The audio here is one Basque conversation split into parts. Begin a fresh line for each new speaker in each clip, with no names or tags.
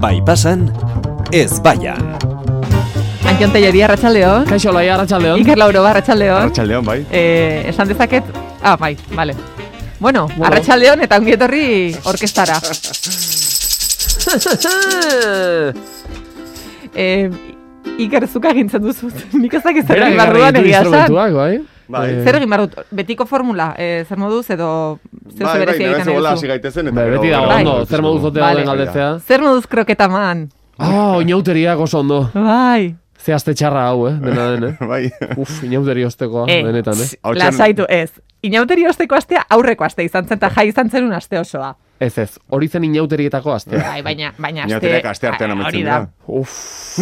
Bai pasan, ez baian.
Antion Telleria, Arratxaldeon.
Kaixo, bai, Laia, arratsaldeon.
Iker Lauro, Arratxaldeon.
Arratxaldeon, bai.
Eh, esan dezaket... Ah, bai, vale. Bueno,
Bueno.
Arratxaldeon eta ongi etorri orkestara. eh, Iker zuk agintzen duzu. Nik ez dakit zer egin behar dudan egia esan.
instrumentuak, bai?
Bai.
Eh,
Zer egin behar dut? Betiko formula, eh, zer moduz edo zer
bai, bai,
berezi
nire
egiten
zegoela
nahi
hasi
duzu?
gaitezen eta
Bai,
gero-
beti dago
gero-
ondo,
gero-
zer moduz ote
Vale.
dauden galdetzea.
Zer moduz kroketa man?
Ah, inauteriak oso ondo.
Bai.
Ze aste txarra hau, eh, dena den, eh.
Bai.
Uf, inauteri
Ah,
ostekoa,
Eh,
benetan, eh.
Ahotsen-
Lasaitu, ez. Inauteri osteko astea aurreko astea izan zen, eta jai izan zen un aste osoa.
Ez ez, hori zen inauterietako aste.
Bai, baina, baina aste...
Eh. Inauteriak aste artean
hori
amatzen
da.
dira.
Uf,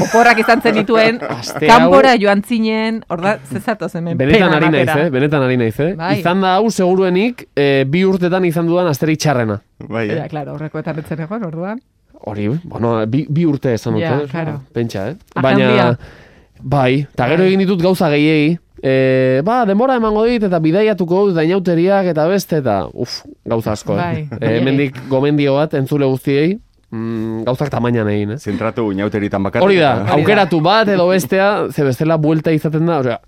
Oporrak izan zen dituen,
Aste
kanpora
hau-
joan zinen, orda, zezatoz hemen
benetan
pena
ari naiz,
ematera.
eh, benetan ari naiz, eh.
Bai.
Izan da hau seguruenik, eh, bi urtetan izan dudan asterik txarrena.
Bai, eh?
Ja, klaro, horrekoetan etzen egon, orduan.
Hori, bueno, bi, bi urte esan dute.
Ja,
eh?
claro.
Pentsa, eh?
Ajan
Baina,
dia.
bai, eta gero
Bai.
egin ditut gauza gehiegi. E, ba, denbora emango dit eta bidaiatuko dut dainauteriak eta beste eta uf, gauza asko. Eh?
Bai.
E, hemendik gomendio bat entzule guztiei, mm, gauzak tamainan egin, eh?
Zentratu inauteritan bakarrik.
Hori da,
eta-
Hau-
aukeratu bat edo bestea, ze bestela buelta izaten da, osea,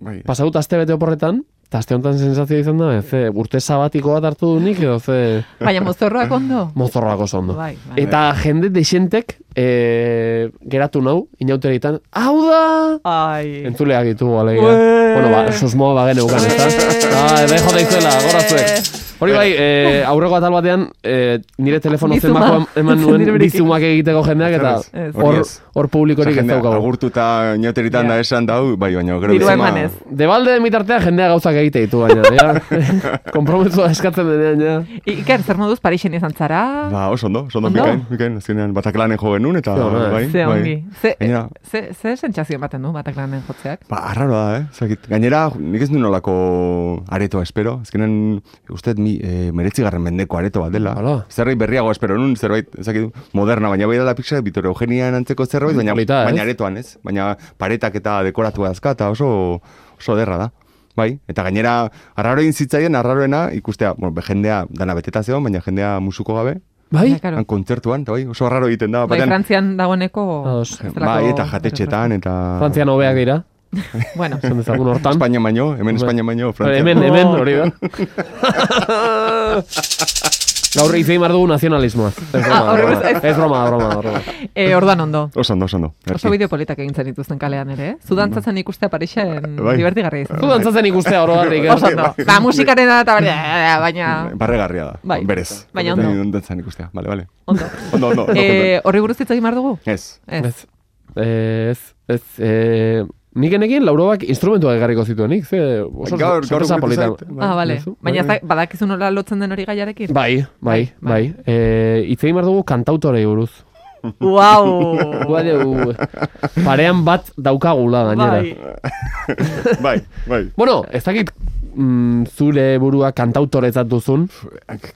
Bai.
pasatut aste bete oporretan, eta aste honetan sensazioa izan da, ez, ze urte sabatiko bat hartu dunik edo ze
Baina mozorroak ondo.
mozorroako zondo.
Bai, bai.
Eta jende desentek e, geratu nau, inauteritan, hau da!
Ai.
Entzuleak ditugu alegia.
Ue!
Bueno, ba, susmoa ba geneukan, ezta?
Ue!
Ah, bai jota izuela, gora zuek. Hori bai, e, aurreko atal batean, e, nire telefono
Bizuma.
zenbako eman nuen
Nire berekin.
bizumak egiteko jendeak eta
Ez.
hor,
Hori ez.
hor publikorik ez
Jendea
daukagu.
Agurtuta inauteritan
Ja.
da esan dau, bai, baina gero
Dirua
bizima-
emanez.
Debalde mitartea jendea gauzak egite ditu baina, ja. Kompromisoa eskatzen denean, ja.
Iker, zer moduz Parisen izan zara?
Ba, oso ondo, oso ondo,
Ondo?
bikain, bikain, azkenean bataklanen jo genuen, eta
Ze ona, eh?
bai,
Ze ongi.
bai.
Ze,
Gainera-
ze, ze sentsazio ematen du batak lanen jotzeak?
Ba, arraro da, eh? Zakit. Gainera, nik ez nuen olako aretoa espero. Azkenan, uste, dut mi, e, meretzigarren mendeko areto bat dela.
Hala.
Zerbait berriago espero nun, zerbait, ezakitu, moderna, baina bai dela pixka, Vitor Eugenian antzeko zerbait, baina,
Polita, ez?
baina aretoan, ez? Baina paretak eta dekoratu dazka, eta oso, oso derra da. Bai, eta gainera, arraro egin zitzaien, arraroena, ikustea, bueno, jendea, dana beteta zegoen, baina jendea musuko gabe,
Bai?
Ja, claro.
han kontzertuan, eta bai, oso arraro egiten da,
Bai,
batean,
Frantzian dagoeneko...
Ados.
bestelako-
bai, eta jatetxetan, eta...
Frantzian hobeak dira,
Bueno,
esan dezagun hortan.
Espainia baino,
Hombre.
hemen Espainia baino,
Hore,
Frantzian.
Bai. Hemen, hemen,
Oh.
hori da. Gaur hitz egin behar dugu nazionalismoaz. Ez broma,
Ah, horre-
broma. ez broma, broma, broma.
e, orduan ondo.
Oso ondo, oso ondo.
Oso bideo politak egin zen dituzten kalean ere, eh? Zudantzatzen ikustea Parisen
Bai.
divertigarria izan.
Zu dantzatzen ikustea oro harrik.
Oso ondo. Ba, musikaren da eta bale, baina...
Barregarria da,
Bai.
berez.
Baina ondo.
Ondo ikustea, bale, bale.
Ondo.
Ondo, ondo. ondo,
Eh, horri buruz hitz egin behar dugu? Eh.
ondo. Ez.
Ez.
Ez, ez, ez, eh, nik enekin lauroak instrumentua egarriko zituenik, ze oso
Gaur, gaur
sorpresa
okurritu
polita.
zait, bai.
Ah, bale.
Duzu?
Baina ez
Bai.
da- badakizu nola lotzen den hori gaiarekin?
Bai, bai, bai. Eh, hitz egin behar dugu kantautorei buruz.
Wow!
Guadeu, parean bat daukagula gainera.
Bai.
Bai, bai.
Bueno, ez dakit mm, zure burua kantautoretzat duzun.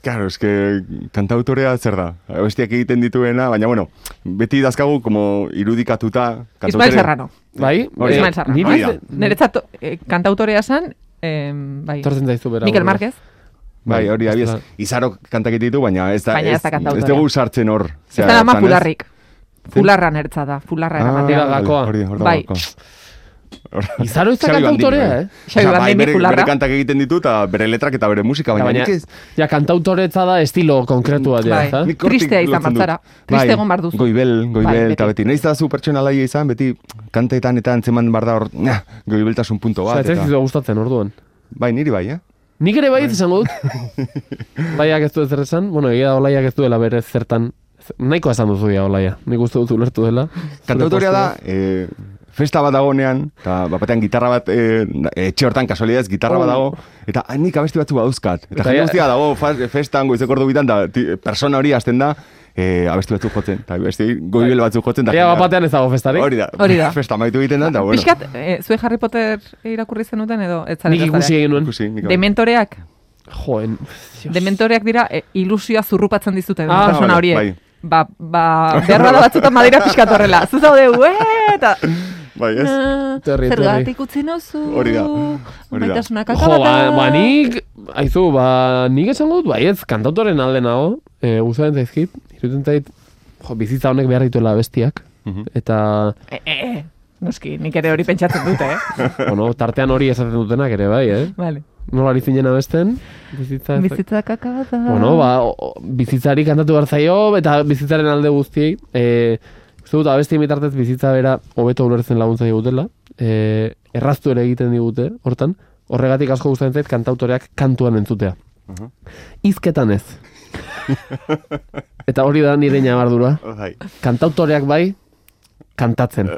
Claro, es que kantautorea zer da? Bestiak egiten dituena, baina bueno, beti dazkagu como irudikatuta
Ismael Serrano.
Bai?
Hori da.
Ismael Bai. Serrano.
niri
Hori da.
ez-
Niretzat eh, kantautorea san, eh, bai.
Tortzen zaizu bera.
Mikel
burura.
Márquez.
Bai, hori abiez.
Ez da.
Izarok kantak egiten ditu, baina ez da
Baina ez da kantautorea.
Ez dugu sartzen hor.
Ez
Zera,
da ama
tan ez?
fularrik. Fularra nertza da, fularra
Ah,
eramatea.
Hori da gakoa.
Hori, hori da
Bai.
gakoa.
Izaro ez da
Xabi Bandini,
kantautorea,
bai.
eh?
Xabi
Osea, bai,
Bandini
bere-
fularra.
Bere kantak egiten ditu eta bere letrak eta bere musika, baina,
Baina,
nik ez...
ja, kantautoretza da estilo konkretua dira,
Bai.
ezta?
nik hortik
Tristea izan
lotzen dut.
batzara. Triste egon behar duzu.
Goibel,
Bai,
goibel,
beti.
eta beti. Naiz da zu pertsonalaia izan, beti kantetan eta antzeman bar da hor, nah, goibeltasun punto
Osea,
bat.
ez ez
Eta,
dizu gustatzen, orduan.
bai, niri bai, eh?
Nik ere bai izango dut. Laiak ez du ezer esan, bueno, egia da olaiak ez duela bere zertan, nahikoa esan duzu ja olaia, nik uste dut ulertu dela. Zure
Kantautoria da,
postura.
eh, festa bat dagoenean, eta bat batean gitarra bat, eh, etxe hortan kasualidadez gitarra bat dago, eta ah, nik abesti batzu badauzkat. Eta
Oh. Eta
jende
ja-
guztia dago, fa- festan goizeko ordu bitan, da ti- persona hori hasten da, eh, abesti batzu jotzen, eta abesti goibel batzu jotzen. eta
Ea bat
jendea-
batean ez dago festarik.
Hori da.
Hori da.
Festa maitu egiten da, eta bueno.
Piskat, eh, zue Harry Potter irakurri zenuten edo? Ez zarete
Nik ikusi
zare?
egin nuen.
Ikusi, nik-
Dementoreak.
Joen.
Dementoreak dira e, ilusioa zurrupatzen dizuten
Ah,
persona
vale,
horiek.
bai.
Ba, ba, beharra da batzutan madira pixkat horrela. Zu zaude, ue, eta...
Bai, ez?
"Na,
Etorri, etorri.
Zergatik utzi nozu.
Hori da, hori da.
Maitasuna
Jo, ba,
kakabata.
ba nik, aizu, bai, ba, nik esango dut, baietz, kantautoren alde nago, e, gustatzen zaizkit, iruten zait, jo, bizitza honek behar dituela bestiak.
Mhm.
Eta,
E, e, e. Noski, nik ere hori pentsatzen dute, eh?
bueno, tartean hori esaten dutenak ere bai, eh?
Vale.
Nola ari zinen abesten? Bizitza...
Bizitza kaka da.
Bueno, ba, o- o- bizitzari kantatu behar zaio, eta bizitzaren alde guztiei. E, uste dut, abestien bitartez bizitza bera hobeto ulertzen laguntza digutela. E, erraztu ere egiten digute, hortan. Horregatik asko gustatzen zait kantautoreak kantuan entzutea. Hizketan ez. eta hori da nire nabardura.
Bai.
Kantautoreak bai, kantatzen.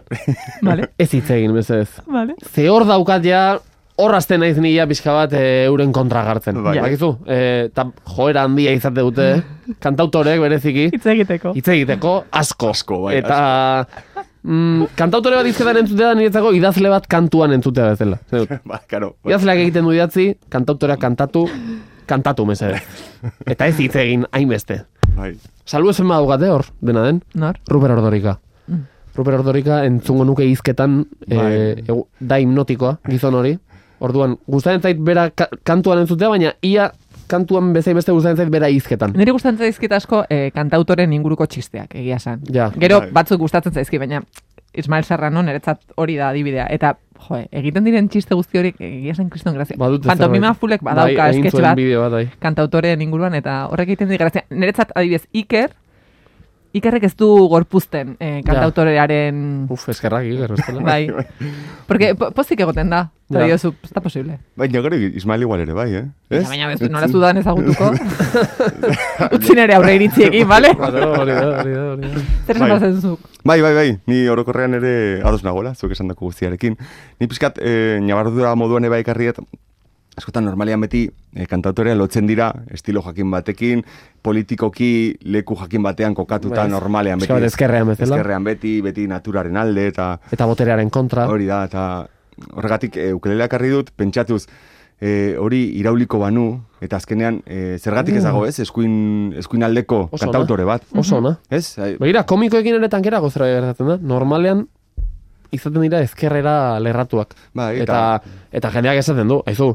Vale,
Ez hitz egin, mesedez.
vale.
Ze hor daukat ja, hor azten naiz nila pixka bat e, euren kontra gartzen.
Bai.
Bai. Bakizu, e, ta joera handia izate dute, eh? kantautorek bereziki,
Hitz egiteko.
hitz egiteko asko.
Asko, bai,
Eta... Mm, kantautore bat izketan entzutea da niretzako idazle bat kantuan entzutea bezala. Zer dut.
Ba, karo. bai.
Idazleak egiten du idatzi, kantautoreak kantatu, kantatu mesedez. Eta ez hitz egin hainbeste.
Bai.
Salbu ezen badugate hor, dena den.
Nor?
Ruper Ordorika.
Mm.
Ruper Ordorika entzungo nuke izketan
Bai.
e, egu- da hipnotikoa, gizon hori. Orduan, gustatzen zait bera ka- kantuan entzutea, baina ia kantuan bezain beste gustatzen zait bera izketan.
Niri gustatzen zaizkit asko eh, kantautoren inguruko txisteak, egia san.
Ja.
Gero
Bai.
batzuk gustatzen zaizki, baina Ismael Serrano niretzat hori da adibidea. Eta, jo, eh, egiten diren txiste guzti horiek eh, egia san kriston grazia.
Badute
Pantomima
zerbait.
fulek badauka
bai, egin
esketxe
zuen
bat
bideo bat, bai.
kantautoren inguruan, eta horrek egiten dit grazia. Niretzat adibidez, Iker, Ikerrek ez du gorpuzten eh, kantautorearen...
Uf, eskerrak iker, bestela.
Bai. Porque po- pozik egoten da.
Ja.
Eta diozu, ez da posible.
Baina Bai, gero Ismael igual ere, bai, eh?
Ja, Baina ez, nola zudan ezagutuko. Utzi nere aurre iritziekin, bale?
Claro, hori da, hori da, hori da.
Zer
Bai.
esan bazen zu?
Bai, bai, bai, ni orokorrean ere ados nagola, zuek esan dako guztiarekin. Ni pixkat, e, nabardura moduan eba ekarriet, askotan normalean beti e, kantautorean lotzen dira, estilo jakin batekin, politikoki leku jakin batean kokatuta
Bai,
normalean
pixka
beti.
bat ezkerrean bezala.
Ezkerrean beti, beti naturaren alde, eta
Eta boterearen kontra.
hori da, eta horregatik e, ukelelea ekarri dut, pentsatuz, e, hori irauliko banu, eta azkenean, e, zergatik ezago ez, eskuin, eskuin aldeko
Mm. Oso ona.
kantautore bat.
Oso ona.
Ez? Ai,
Begira, komikoekin ere tankera gozera gertatzen da. Normalean izaten dira ezkerrera lerratuak.
Bai,
eta,
eta-
eta, jendeak esaten du, aizu,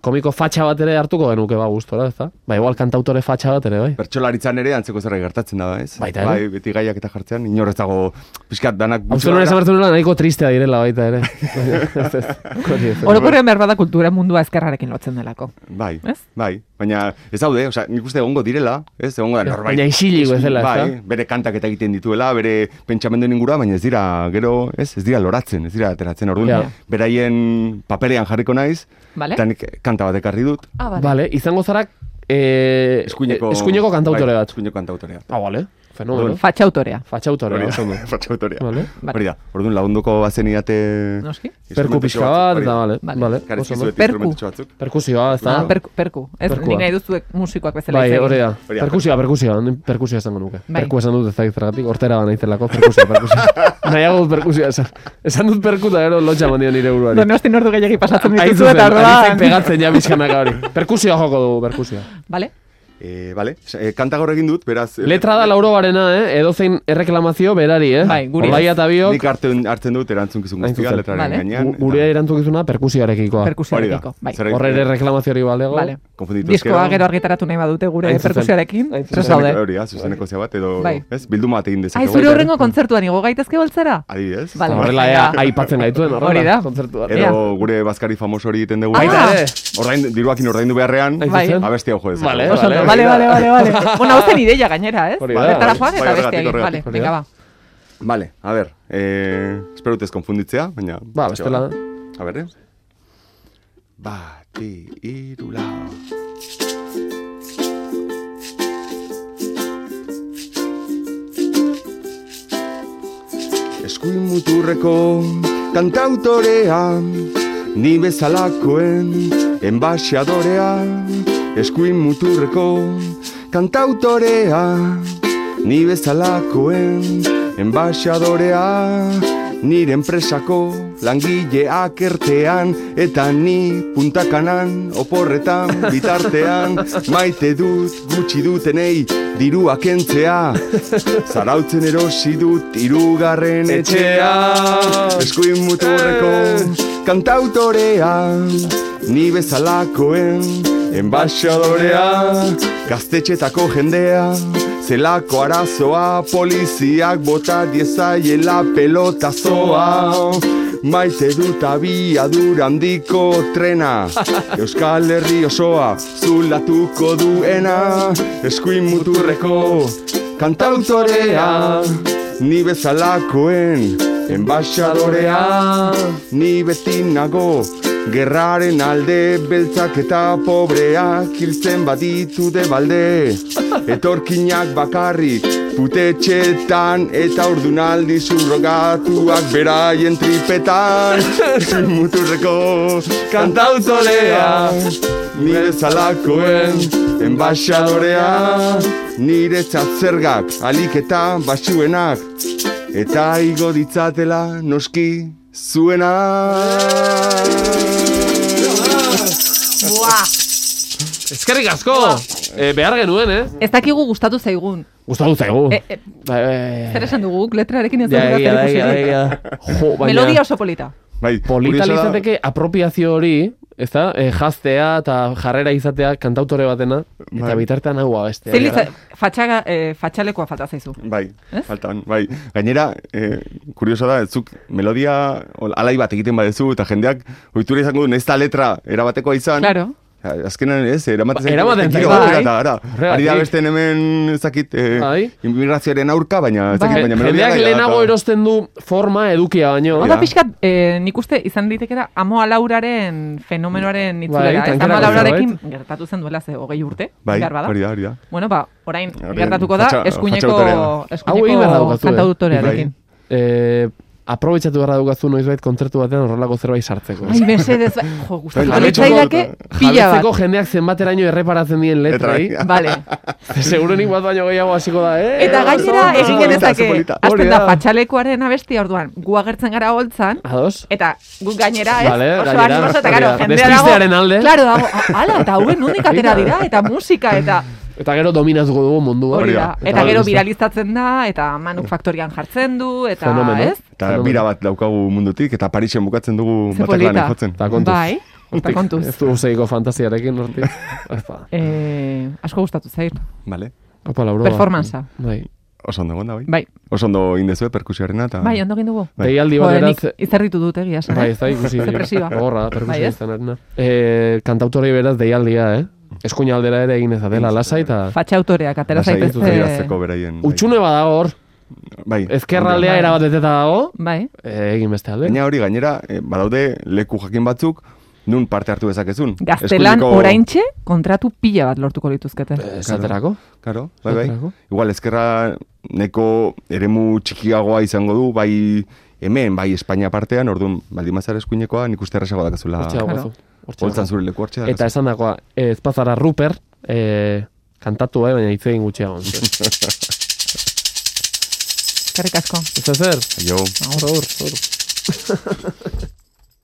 komiko fatxa bat ere hartuko genuke ba gustora, ezta? Ba, igual kantautore fatxa bat ere,
Ba,
bai.
Bertsolaritzan ere antzeko zerbait gertatzen da, ez?
Baita ere.
bai, beti gaiak eta jartzean, inor ez dago pixkat danak
Hauzen hori esan bertzen nahiko tristea direla baita ere. Ez, ez, hori ez.
Orokorrean behar bada kultura mundua ezkerrarekin lotzen delako.
Bai,
Ez?
bai, baina ez daude, osea, nik uste egongo direla, ez? Egongo da
Ja,
norbait.
baina isilik bezala,
bai,
ezta?
bere kantak eta egiten dituela, bere pentsamenduen ingura, baina ez dira, gero, ez? Ez dira loratzen, ez dira ateratzen orduan.
Ja.
Beraien paperean jarriko naiz,
Bale?
eta nik kanta bat ekarri dut.
Ah, bale.
Vale, izango zara eh,
Bai. Eskuineko,
eskuineko kantautore
bai,
bat.
Eskuineko kantautore bat.
Ah, vale. Fenomeno.
Orduan,
Fatxautorea.
Bai. Fatxautore,
Hori da,
oso ondo.
Fatxautorea.
Vale.
Bai.
Hori da, orduan lagunduko bazeniate...
Noski?
Perku pixka bat, eta vale,
Vale.
vale. oso ondo.
Karezkizuet
Perku.
instrumentatxo batzuk.
Perkusioa, ez da?
Ah, perku, perku. Ez,
Perkua.
nik nahi duzuek musikoak bezala
Bai,
hitz egin.
hori da.
Hori da.
Perkusioa, perkusioa, nik perkusioa esango nuke.
Bai.
Perku esan dut ez dakit zergatik, hortera ba naizelako, perkusioa, perkusioa. Nahiago dut perkusioa esan. Esan dut perku eta gero lotxa mandio nire buruari.
Donosti nordu gehiagi pasatzen
Hain
dituzu
zuzen,
eta
anitzek
orduan.
pegatzen ja bizkanaka hori. Perkusioa joko dugu, perkusioa.
Bale?
Eh, vale, eh, kanta gaur egin dut, beraz... eh,
Letra da lauro barena, eh? Edozein erreklamazio berari, eh?
Bai, guri ez.
Olaia eta biok,
Nik hartzen, hartzen dut erantzunkizun
Hain
guztia
zuzen.
letraren
Vale.
gainean.
gu- gure erantzukizuna perkusioarekikoa.
Hori da.
Perkusioarekiko. Bai.
Zer-
Horre ere reklamazio hori baldego.
Bale.
Konfunditu
Diskoa
ezkero.
gero argitaratu nahi badute gure
Hain zuzen.
perkusioarekin.
Hain
Zer
zuzen.
Zuzeneko-
zaude?
Hori da, zuzeneko zea bat, edo...
Bai.
Ez, bilduma bat egin
Ai,
dezakegu.
zure
baita ere.
horrengo kontzertuan igo gaitezke boltzera?
Adibidez.
Vale.
Horrela ea aipatzen gaituen, horrela.
Hori da.
Kontzertuan.
Edo
Ea.
gure bazkari famoso hori egiten dugu.
Baita
ere.
Ordain, diruakin ordaindu beharrean,
Hain
Bai.
zuzen.
abestia jo dezakegu.
Vale,
Oso,
vale,
ondo.
hori
bale,
da.
bale, bale, bale. Bueno, hau zen ideia gainera, ez?
Hori da.
Horretara joan
Bai,
eta
horregatik,
beste egin. Bale,
horregatik.
Hori da.
venga, ba.
Vale, a ber, eh, espero dut ez konfunditzea, baina...
Ba, bestela.
A ber, eh? Bati iru lau. Eskuin muturreko kantautorea Ni bezalakoen enbaixadorea Eskuin muturreko kantautorea Ni bezalakoen enbaixadorea Nire enpresako langileak ertean Eta ni puntakanan oporretan bitartean Maite dut gutxi dutenei dirua kentzea Zarautzen erosi dut irugarren etxea Eskuin muturreko kantautorea Ni bezalakoen Enbaixadorea, gaztetxetako jendea, zelako arazoa, poliziak bota diezaiela pelotazoa. Maite dut abiadura handiko trena, Euskal Herri osoa, zulatuko duena, eskuin muturreko kantautorea, ni bezalakoen enbaixadorea, ni beti nago Gerraren alde beltzak eta pobreak hiltzen baditu de balde Etorkinak bakarrik putetxetan eta ordunaldi zurrogatuak beraien tripetan Muturreko kantautolea nire zalakoen enbaixadorea Nire zergak alik eta basuenak eta igo ditzatela noski zuena.
Buah!
Eskerrik asko! Eh, behar genuen, eh?
Ez dakigu gustatu zaigun.
Gustatu zaigu.
E, e,
Bai, bai,
zer
bai.
esan dugu, letrarekin ez
Ja,
dago
egia da,
zer
egia da,
ikusirik.
egia da. Jo, baina-
bai, Melodia oso polita.
Bai,
Polita
kuriosoa da-
litzateke apropiazio hori, ez da? Eh, jaztea eta jarrera izatea kantautore batena, eta
Bai.
bitartean hau abestea.
Zein litza, fatxaga, eh, fatxalekoa falta zaizu.
Bai,
Ez?
faltan, bai. Gainera, e, kuriosa da, zuk melodia hol- alai bat egiten badezu, eta jendeak ohitura izango du, ez da letra erabatekoa izan.
Claro.
Azkenan ez, eramaten
Ba, eramaten zaitu,
zaitu, giro
bai.
eta ara.
Horregatik.
Ari da beste hemen, ez dakit, eh,
Bai.
inmigrazioaren aurka, baina ez dakit,
Bai.
baina melodia
Jendeak
gaia da,
lehenago
eta-
erosten du forma edukia baino.
Hau da
Oda pixkat, eh, nik uste izan daiteke da Amoa Lauraren fenomenoaren itzulera. eh? ez
Bai, tankerako
Amoa Lauraren
zerbait.
gertatu zen duela ze hogei urte,
Bai,
behar bada.
hori da, hori da.
Bueno, ba, orain
Horien
gertatuko da
fatxa-
eskuineko,
fatxautorea.
Hau egin behar
eskuineko
daukazu, eh?
kantautorearekin.
Eh, aprobetxatu behar daukazu noizbait kontzertu batean horrelako zerbait sartzeko.
Ai, mesedez, bai, jo, gustatu
Bai,
litzaidake
jarretzeko-
pila
Jabetzeko
bat.
jendeak zenbateraino erreparatzen dien letrai.
Letra.
Vale.
Segurunik bat baino gehiago hasiko da, eh?
Eta gainera
oso
egin
polita,
genezake,
oso polita.
azten
Hori
da
da.
fatxalekoaren abestia orduan, gu agertzen gara holtzan,
Ados?
eta guk gainera, ez?
Vale,
oso
gainera,
animoso, eta
hori
garo,
da.
jendea dago.
Despistearen alde.
Claro, dago, "A- ala, eta hauen nondik atera dira, eta musika, eta
Eta gero dominazgo dugu mundua.
hori
Hori
da.
da.
Eta gero
hori da.
viralizatzen da, eta manufaktorian jartzen du, eta,
Fenomeno.
ez?
Eta bira bat daukagu mundutik, eta Parisen bukatzen dugu
Ze
baterlanen
polita.
jotzen.
Eta kontuz.
Bai, eta kontuz.
Ez du zeiko fantasiarekin hortik. Opa,
Eh, asko gustatu zait.
Vale,
opa lauro.
Performantza.
Bai.
oso ondo egon da, bai.
Bai,
Oso ondo indezue, perkusioarena,
Ah.
eta...
bai, ondo egin dugu.
Bai.
Deialdi bat
Jo, nik
eraz...
izerritu dut egia esan.
Bai,
eh?
ez da ikusi.
Ze presioa.
Gorra,
Bai,
perkusia
ez?
izan arena. Eh, kantautori beraz deialdia, eh? Eskuinaldera ere egin
Bai.
ezadela, lasai eta...
Fatxautoreak atera
Lasai,
zaitezte.
adierazteko beraien. bai.
Utxune badago hor,
Bai.
ezkerraldea
Bai.
erabat beteta dago,
Bai,
eh, egin beste alde.
Gaina hori, gainera, eh, badaude leku jakin batzuk, nun parte hartu dezakezun.
gaztelan
Eskuineko-
oraintxe kontratu pila bat lortuko lituzkete.
Eh, Esaterako.
Claro, bai, bai.
Esaterako.
Igual, ezkerra neko eremu txikiagoa izango du, bai hemen, bai Espainia partean, orduan, baldin bazara eskuinekoa, nik uste errazago dakazula.
Hortxe dago,
Claro.
bazu. Hortxe
Holtzan
dago.
zure leku hartxe
Eta
dakazu.
esan dagoa, eh, ez bazara Ruper, eh, kantatu bai, baina hitz egin gutxiago.
Eskerrik asko.
Ez zer?
Jo.
um,
Aur, aur, aur.